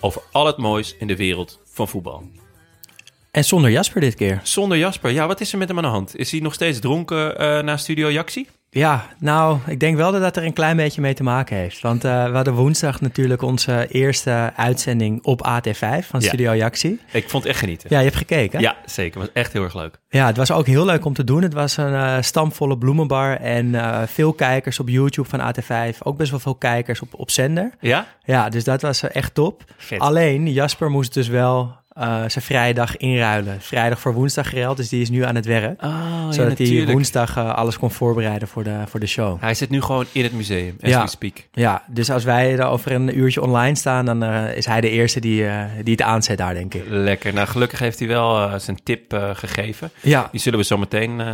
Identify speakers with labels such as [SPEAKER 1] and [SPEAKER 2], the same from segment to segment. [SPEAKER 1] over al het moois in de wereld van voetbal.
[SPEAKER 2] En zonder Jasper dit keer.
[SPEAKER 1] Zonder Jasper, ja, wat is er met hem aan de hand? Is hij nog steeds dronken eh, na Studio Jaxi?
[SPEAKER 2] Ja, nou, ik denk wel dat dat er een klein beetje mee te maken heeft. Want eh, we hadden woensdag natuurlijk onze eerste uitzending op AT5 van
[SPEAKER 1] Ja.
[SPEAKER 2] Studio Jaxi.
[SPEAKER 1] Ik vond het echt genieten.
[SPEAKER 2] Ja, je hebt gekeken.
[SPEAKER 1] Ja, zeker. Was echt heel erg leuk.
[SPEAKER 2] Ja, het was ook heel leuk om te doen. Het was een eh, stamvolle bloemenbar en eh, veel kijkers op YouTube van AT5. Ook best wel veel kijkers op, op zender.
[SPEAKER 1] Ja?
[SPEAKER 2] Ja, dus dat was eh, echt top.
[SPEAKER 1] Vet.
[SPEAKER 2] Alleen, Jasper moest dus wel eh, zijn vrijdag inruilen. Vrijdag voor woensdag geruild, dus die is nu aan het werk.
[SPEAKER 1] Oh,
[SPEAKER 2] zodat hij woensdag eh, alles kon voorbereiden voor de, voor de show.
[SPEAKER 1] Hij zit nu gewoon in het museum, as
[SPEAKER 2] Ja.
[SPEAKER 1] we speak.
[SPEAKER 2] Ja, dus als wij er over een uurtje online staan, dan eh, is hij de eerste die, eh, die het aanzet daar, denk ik.
[SPEAKER 1] Lekker. Nou, gelukkig heeft hij wel eh, zijn tip eh, gegeven.
[SPEAKER 2] Ja,
[SPEAKER 1] Die zullen we zo meteen eh,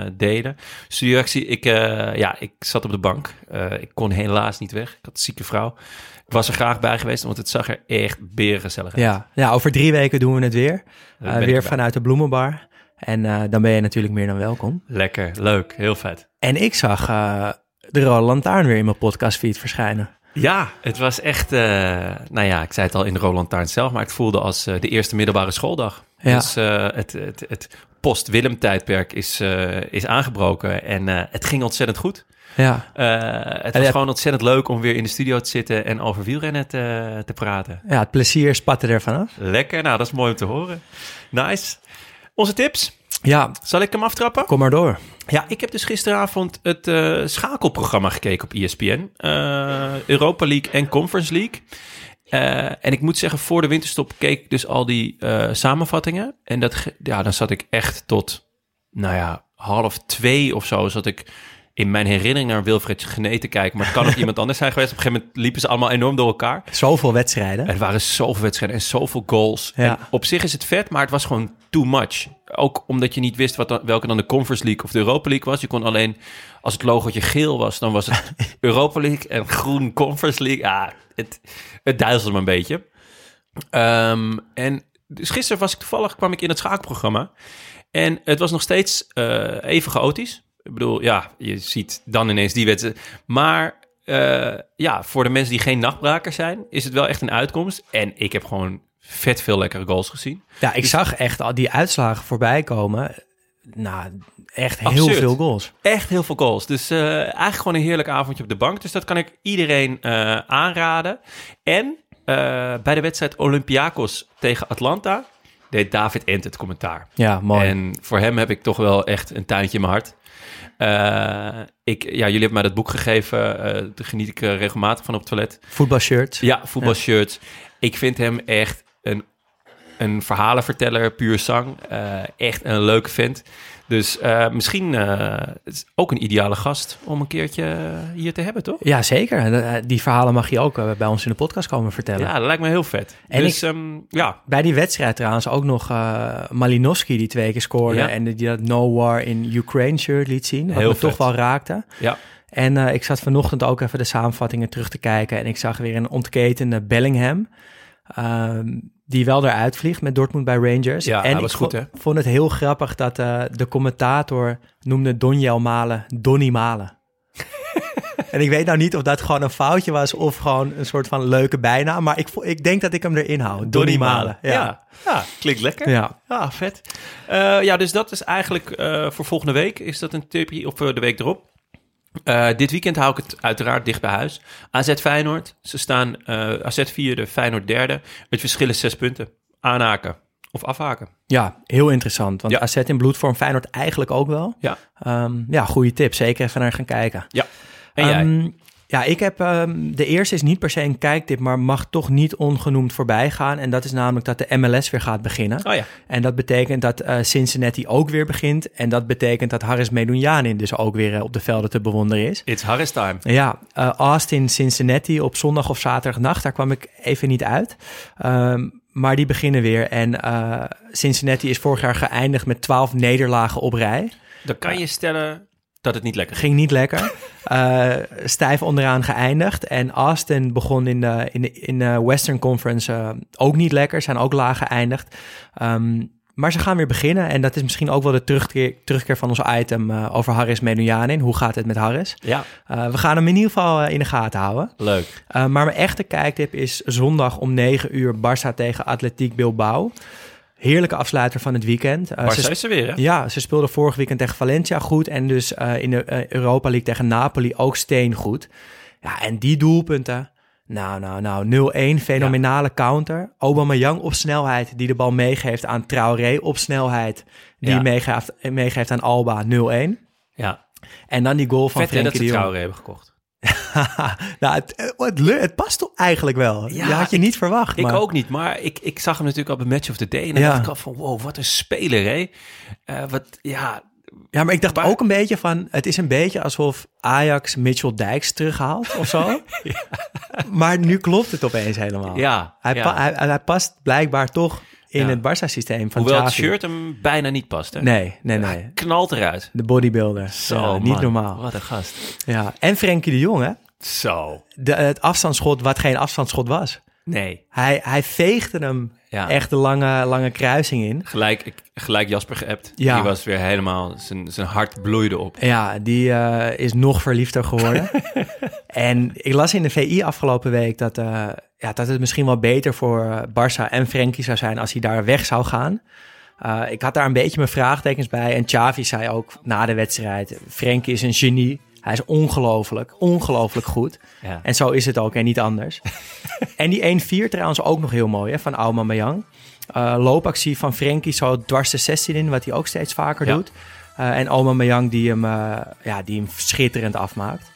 [SPEAKER 1] eh, delen. Studioactie, ik, eh, ja, ik zat op de bank. Eh, ik kon helaas niet weg. Ik had een zieke vrouw. Ik was er graag bij geweest, want het zag er echt berengezellig uit.
[SPEAKER 2] ja. ja, over drie weken doen we het weer.
[SPEAKER 1] Daar
[SPEAKER 2] Eh,
[SPEAKER 1] ben ik
[SPEAKER 2] weer
[SPEAKER 1] bij.
[SPEAKER 2] vanuit de Bloemenbar. En eh, dan ben je natuurlijk meer dan welkom.
[SPEAKER 1] Lekker, leuk, heel vet.
[SPEAKER 2] En ik zag eh, de Rode Lantaarn weer in mijn podcastfeed verschijnen.
[SPEAKER 1] Ja, het was echt, eh, nou ja, ik zei het al in de Roland Taarn zelf, maar het voelde als eh, de eerste middelbare schooldag.
[SPEAKER 2] Ja.
[SPEAKER 1] Dus eh, het, het, het post-Willem-tijdperk is, eh, is aangebroken en eh, het ging ontzettend goed.
[SPEAKER 2] Ja,
[SPEAKER 1] Eh, het was
[SPEAKER 2] ja.
[SPEAKER 1] gewoon ontzettend leuk om weer in de studio te zitten en over wielrennen te, te praten.
[SPEAKER 2] ja het plezier spatte er vanaf.
[SPEAKER 1] Lekker, nou dat is mooi om te horen. Nice. Onze tips,
[SPEAKER 2] Ja,
[SPEAKER 1] zal ik hem aftrappen?
[SPEAKER 2] kom maar door.
[SPEAKER 1] Ja, ik heb dus gisteravond het eh, schakelprogramma gekeken op E ESPN. Eh, Europa League en Conference League. Eh, en ik moet zeggen, voor de winterstop keek ik dus al die eh, samenvattingen. En dat, ge- ja, dan zat ik echt tot, nou ja, half twee of zo zat ik in mijn herinnering naar Wilfred Gené te kijken. Maar het kan ook iemand anders zijn geweest. Op een gegeven moment liepen ze allemaal enorm door elkaar.
[SPEAKER 2] Zoveel wedstrijden.
[SPEAKER 1] Er waren zoveel wedstrijden en zoveel goals.
[SPEAKER 2] Ja.
[SPEAKER 1] En op zich is het vet, maar het was gewoon too much. Ook omdat je niet wist wat dan- welke dan de Conference League of de Europa League was. Je kon alleen, als het logootje geel was, dan was het Europa League en groen Conference League. Ah, het, het duizelde me een beetje. Ehm, en dus gisteren was ik toevallig, kwam ik in het schaakprogramma. En het was nog steeds eh, even chaotisch. Ik bedoel, ja, je ziet dan ineens die wedstrijd. Maar eh, ja, voor de mensen die geen nachtbrakers zijn, is het wel echt een uitkomst. En ik heb gewoon vet veel lekkere goals gezien.
[SPEAKER 2] Ja, ik zag echt al die uitslagen voorbij komen. Nou, echt heel
[SPEAKER 1] Absurd.
[SPEAKER 2] veel goals.
[SPEAKER 1] Echt heel veel goals. Dus eh, eigenlijk gewoon een heerlijk avondje op de bank. Dus dat kan ik iedereen eh, aanraden. En eh, bij de wedstrijd Olympiakos tegen Atlanta deed David Ent het commentaar.
[SPEAKER 2] Ja, mooi.
[SPEAKER 1] En voor hem heb ik toch wel echt een tuintje in mijn hart. Eh, ik, ja, jullie hebben mij dat boek gegeven. eh daar geniet ik eh, regelmatig van op het toilet.
[SPEAKER 2] Voetbalshirt.
[SPEAKER 1] Ja, voetbalshirts. Ik vind hem echt een, een verhalenverteller, puur zang. Eh, echt een leuke vent. Dus eh, misschien eh, het is ook een ideale gast om een keertje eh, hier te hebben, toch?
[SPEAKER 2] Ja, zeker. En, eh, Die verhalen mag je ook eh, bij ons in de podcast komen vertellen.
[SPEAKER 1] Ja, dat lijkt me heel vet.
[SPEAKER 2] En
[SPEAKER 1] dus ehm, ja,
[SPEAKER 2] Bij die wedstrijd trouwens ook nog eh Malinowski die twee keer scoorde.
[SPEAKER 1] Ja.
[SPEAKER 2] En die dat No War in Ukraine shirt liet zien. Wat
[SPEAKER 1] Heel
[SPEAKER 2] me
[SPEAKER 1] vet.
[SPEAKER 2] toch wel raakte.
[SPEAKER 1] ja.
[SPEAKER 2] En eh, ik zat vanochtend ook even de samenvattingen terug te kijken. En ik zag weer een ontketende Bellingham. ehm, die wel eruit vliegt met Dortmund bij Rangers.
[SPEAKER 1] Ja,
[SPEAKER 2] en
[SPEAKER 1] hij was
[SPEAKER 2] ik
[SPEAKER 1] goed,
[SPEAKER 2] vo-
[SPEAKER 1] hè?
[SPEAKER 2] vond het heel grappig dat eh, de commentator noemde Donjel Malen Donny Malen. en ik weet nou niet of dat gewoon een foutje was of gewoon een soort van leuke bijnaam. Maar ik, vo- ik denk dat ik hem erin hou. Donny, Malen.
[SPEAKER 1] Ja.
[SPEAKER 2] Ja.
[SPEAKER 1] Ja. klinkt lekker.
[SPEAKER 2] Ja.
[SPEAKER 1] Ja, Ah, vet. Eh, ja, dus dat is eigenlijk eh, voor volgende week. Is dat een tipje of eh, de week erop? Eh, dit weekend hou ik het uiteraard dicht bij huis. AZ Feyenoord. Ze staan eh AZ vierde, Feyenoord derde. Het verschil is zes punten. aanhaken of afhaken.
[SPEAKER 2] Ja, heel interessant. Want
[SPEAKER 1] Ja.
[SPEAKER 2] AZ in bloedvorm Feyenoord eigenlijk ook wel.
[SPEAKER 1] Ja.
[SPEAKER 2] Ehm, ja, goede tip. Zeker even naar gaan kijken.
[SPEAKER 1] Ja. En jij?
[SPEAKER 2] Ehm, ja, ik heb. ehm, de eerste is niet per se een kijktip, maar mag toch niet ongenoemd voorbij gaan. En dat is namelijk dat de MLS weer gaat beginnen.
[SPEAKER 1] Oh ja.
[SPEAKER 2] En dat betekent dat eh, Cincinnati ook weer begint. En dat betekent dat Harris Medunjanin dus ook weer eh, op de velden te bewonderen is.
[SPEAKER 1] It's Harris time.
[SPEAKER 2] Ja, eh, Austin, Cincinnati op zondag of zaterdagnacht. Daar kwam ik even niet uit. Ehm, maar die beginnen weer. En eh, Cincinnati is vorig jaar geëindigd met 12 nederlagen op rij.
[SPEAKER 1] Dan kan je stellen dat het niet lekker ging.
[SPEAKER 2] Ging niet lekker. Eh, stijf onderaan geëindigd. En Austin begon in de, in de, in de Western Conference eh, ook niet lekker. Zijn ook laag geëindigd. Ehm, maar ze gaan weer beginnen. En dat is misschien ook wel de terugkeer, terugkeer van ons item eh, over Harris Menujanin. Hoe gaat het met Harris?
[SPEAKER 1] Ja,
[SPEAKER 2] Eh, we gaan hem in ieder geval eh, in de gaten houden.
[SPEAKER 1] leuk.
[SPEAKER 2] Uh, maar mijn echte kijktip is zondag om 9 uur Barça tegen Atletiek Bilbao. Heerlijke afsluiter van het weekend. Eh,
[SPEAKER 1] Maar
[SPEAKER 2] ze
[SPEAKER 1] zo is ze weer, hè?
[SPEAKER 2] ja, ze speelden vorig weekend tegen Valencia goed en dus eh, in de eh, Europa League tegen Napoli ook steengoed. Ja, en die doelpunten. Nou, nou, nou, 0-1, fenomenale counter. Aubameyang op snelheid, die de bal meegeeft aan Traoré op snelheid. Die
[SPEAKER 1] Ja.
[SPEAKER 2] meegeeft, meegeeft aan Alba, 0-1.
[SPEAKER 1] Ja.
[SPEAKER 2] En dan die goal van
[SPEAKER 1] Vet hè, dat
[SPEAKER 2] Frenkie
[SPEAKER 1] ze
[SPEAKER 2] de Jong.
[SPEAKER 1] Traoré hebben gekocht.
[SPEAKER 2] nou, het, het, le- het past toch eigenlijk wel.
[SPEAKER 1] Ja,
[SPEAKER 2] Ja, had je
[SPEAKER 1] ik-
[SPEAKER 2] niet verwacht.
[SPEAKER 1] Ik
[SPEAKER 2] maar-
[SPEAKER 1] ook niet, maar ik, ik zag hem natuurlijk op een match of the day. En dan
[SPEAKER 2] Ja.
[SPEAKER 1] dacht ik al van, wow, wat een speler, hè? Eh, wat, ja,
[SPEAKER 2] Ja, maar ik dacht
[SPEAKER 1] Maar-
[SPEAKER 2] ook een beetje van... Het is een beetje alsof Ajax Mitchell Dijks terughaalt of zo. Maar nu klopt het opeens helemaal.
[SPEAKER 1] Ja,
[SPEAKER 2] hij,
[SPEAKER 1] ja.
[SPEAKER 2] pa- hij, hij past blijkbaar toch in
[SPEAKER 1] Ja.
[SPEAKER 2] het Barça-systeem van
[SPEAKER 1] hoewel het
[SPEAKER 2] Xavi.
[SPEAKER 1] shirt hem bijna niet past, hè?
[SPEAKER 2] Nee, nee,
[SPEAKER 1] Hij
[SPEAKER 2] nee.
[SPEAKER 1] knalt eruit.
[SPEAKER 2] De bodybuilder.
[SPEAKER 1] Zo,
[SPEAKER 2] Ja, niet
[SPEAKER 1] man.
[SPEAKER 2] normaal.
[SPEAKER 1] Wat een gast.
[SPEAKER 2] Ja. En Frenkie de Jong, hè?
[SPEAKER 1] Zo.
[SPEAKER 2] De, het afstandsschot wat geen afstandsschot was.
[SPEAKER 1] Nee.
[SPEAKER 2] Hij, hij veegde hem
[SPEAKER 1] Ja.
[SPEAKER 2] echt de lange, lange kruising in.
[SPEAKER 1] Gelijk, ik, gelijk Jasper geappt.
[SPEAKER 2] Ja.
[SPEAKER 1] Die was weer helemaal, zijn, zijn hart bloeide op.
[SPEAKER 2] Ja, die eh, is nog verliefder geworden. en ik las in de VI afgelopen week dat, eh, ja, dat het misschien wel beter voor eh, Barça en Frenkie zou zijn als hij daar weg zou gaan. Eh, ik had daar een beetje mijn vraagtekens bij. En Xavi zei ook na de wedstrijd, Frenkie is een genie. Hij is ongelooflijk, ongelooflijk goed.
[SPEAKER 1] Ja.
[SPEAKER 2] En zo is het ook en niet anders. en die 1-4 trouwens ook nog heel mooi hè, van Aubameyang. Eh loopactie van Frenkie zo dwars de 16 in, wat hij ook steeds vaker
[SPEAKER 1] Ja.
[SPEAKER 2] doet. Eh, en Aubameyang die hem, eh, ja, die hem schitterend afmaakt.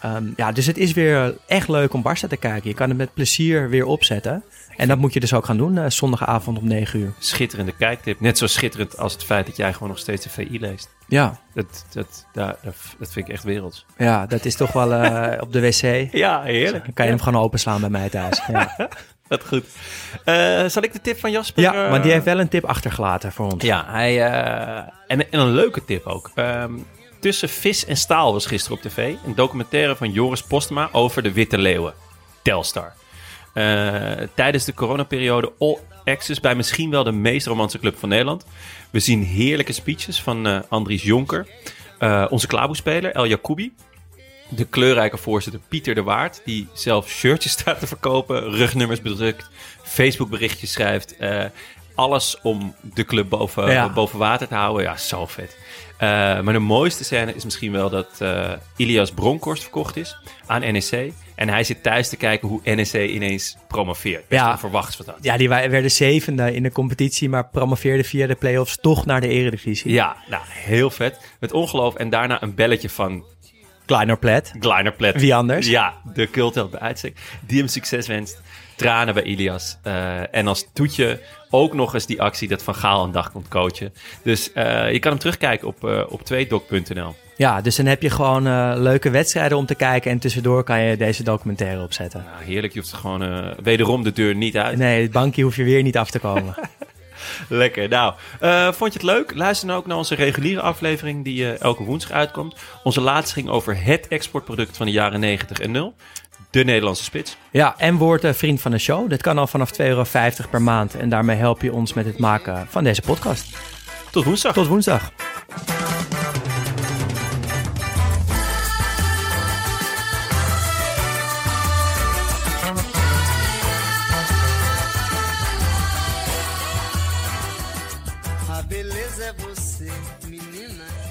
[SPEAKER 2] Ehm, ja, dus het is weer echt leuk om Barça te kijken. Je kan het met plezier weer opzetten. En dat moet je dus ook gaan doen eh, zondagavond om 9 uur.
[SPEAKER 1] Schitterende kijktip. Net zo schitterend als het feit dat jij gewoon nog steeds de VI leest.
[SPEAKER 2] Ja,
[SPEAKER 1] Dat, dat, daar, dat dat vind ik echt werelds.
[SPEAKER 2] ja dat is toch wel eh, op de wc.
[SPEAKER 1] Ja,
[SPEAKER 2] Dan
[SPEAKER 1] heerlijk.
[SPEAKER 2] kan je hem gewoon openslaan bij mij thuis. Ja,
[SPEAKER 1] Wat goed. Eh, zal ik de tip van Jasper?
[SPEAKER 2] ja
[SPEAKER 1] eh,
[SPEAKER 2] want die heeft wel een tip achtergelaten voor ons.
[SPEAKER 1] Ja, hij, eh, en, en een leuke tip ook. Ehm, Tussen vis en staal was gisteren op tv een documentaire van Joris Postma over de witte leeuwen. Telstar. Eh, tijdens de coronaperiode all access bij misschien wel de meest romantische club van Nederland. We zien heerlijke speeches van eh, Andries Jonker. eh, onze klaboespeler El Jacoubi. De kleurrijke voorzitter Pieter de Waard, die zelf shirtjes staat te verkopen, rugnummers bedrukt, Facebook berichtjes schrijft. eh, alles om de club boven,
[SPEAKER 2] Ja.
[SPEAKER 1] boven water te houden. Ja, zo vet. Eh, maar de mooiste scène is misschien wel dat eh, Ilias Bronkhorst verkocht is aan NEC. En hij zit thuis te kijken hoe NEC ineens promoveert. Best
[SPEAKER 2] Ja.
[SPEAKER 1] onverwachts wat dat.
[SPEAKER 2] Ja, die wa- werden zevende in de competitie, maar promoveerden via de play-offs toch naar de eredivisie.
[SPEAKER 1] Ja, nou, heel vet. Met ongeloof en daarna een belletje van
[SPEAKER 2] Kleiner plet.
[SPEAKER 1] Kleiner Plet.
[SPEAKER 2] Wie anders?
[SPEAKER 1] Ja, de cultheld bij uitstek. Die hem succes wenst. Tranen bij Ilias. Eh, en als toetje ook nog eens die actie dat Van Gaal een dag komt coachen. Dus eh, je kan hem terugkijken op, eh op 2doc.nl.
[SPEAKER 2] Ja, dus dan heb je gewoon eh, leuke wedstrijden om te kijken en tussendoor kan je deze documentaire opzetten.
[SPEAKER 1] Nou, heerlijk, je hoeft gewoon eh, wederom de deur niet uit.
[SPEAKER 2] Nee, het bankje hoef je weer niet af te komen.
[SPEAKER 1] Lekker. Nou, eh, vond je het leuk? Luister dan ook naar onze reguliere aflevering die eh, elke woensdag uitkomt. Onze laatste ging over het exportproduct van de jaren 90 en 0. De Nederlandse spits.
[SPEAKER 2] ja, en word eh, vriend van de show. Dat kan al vanaf 2,50 euro per maand en daarmee help je ons met het maken van deze podcast.
[SPEAKER 1] Tot woensdag.
[SPEAKER 2] Tot woensdag.
[SPEAKER 3] A beleza é você, menina.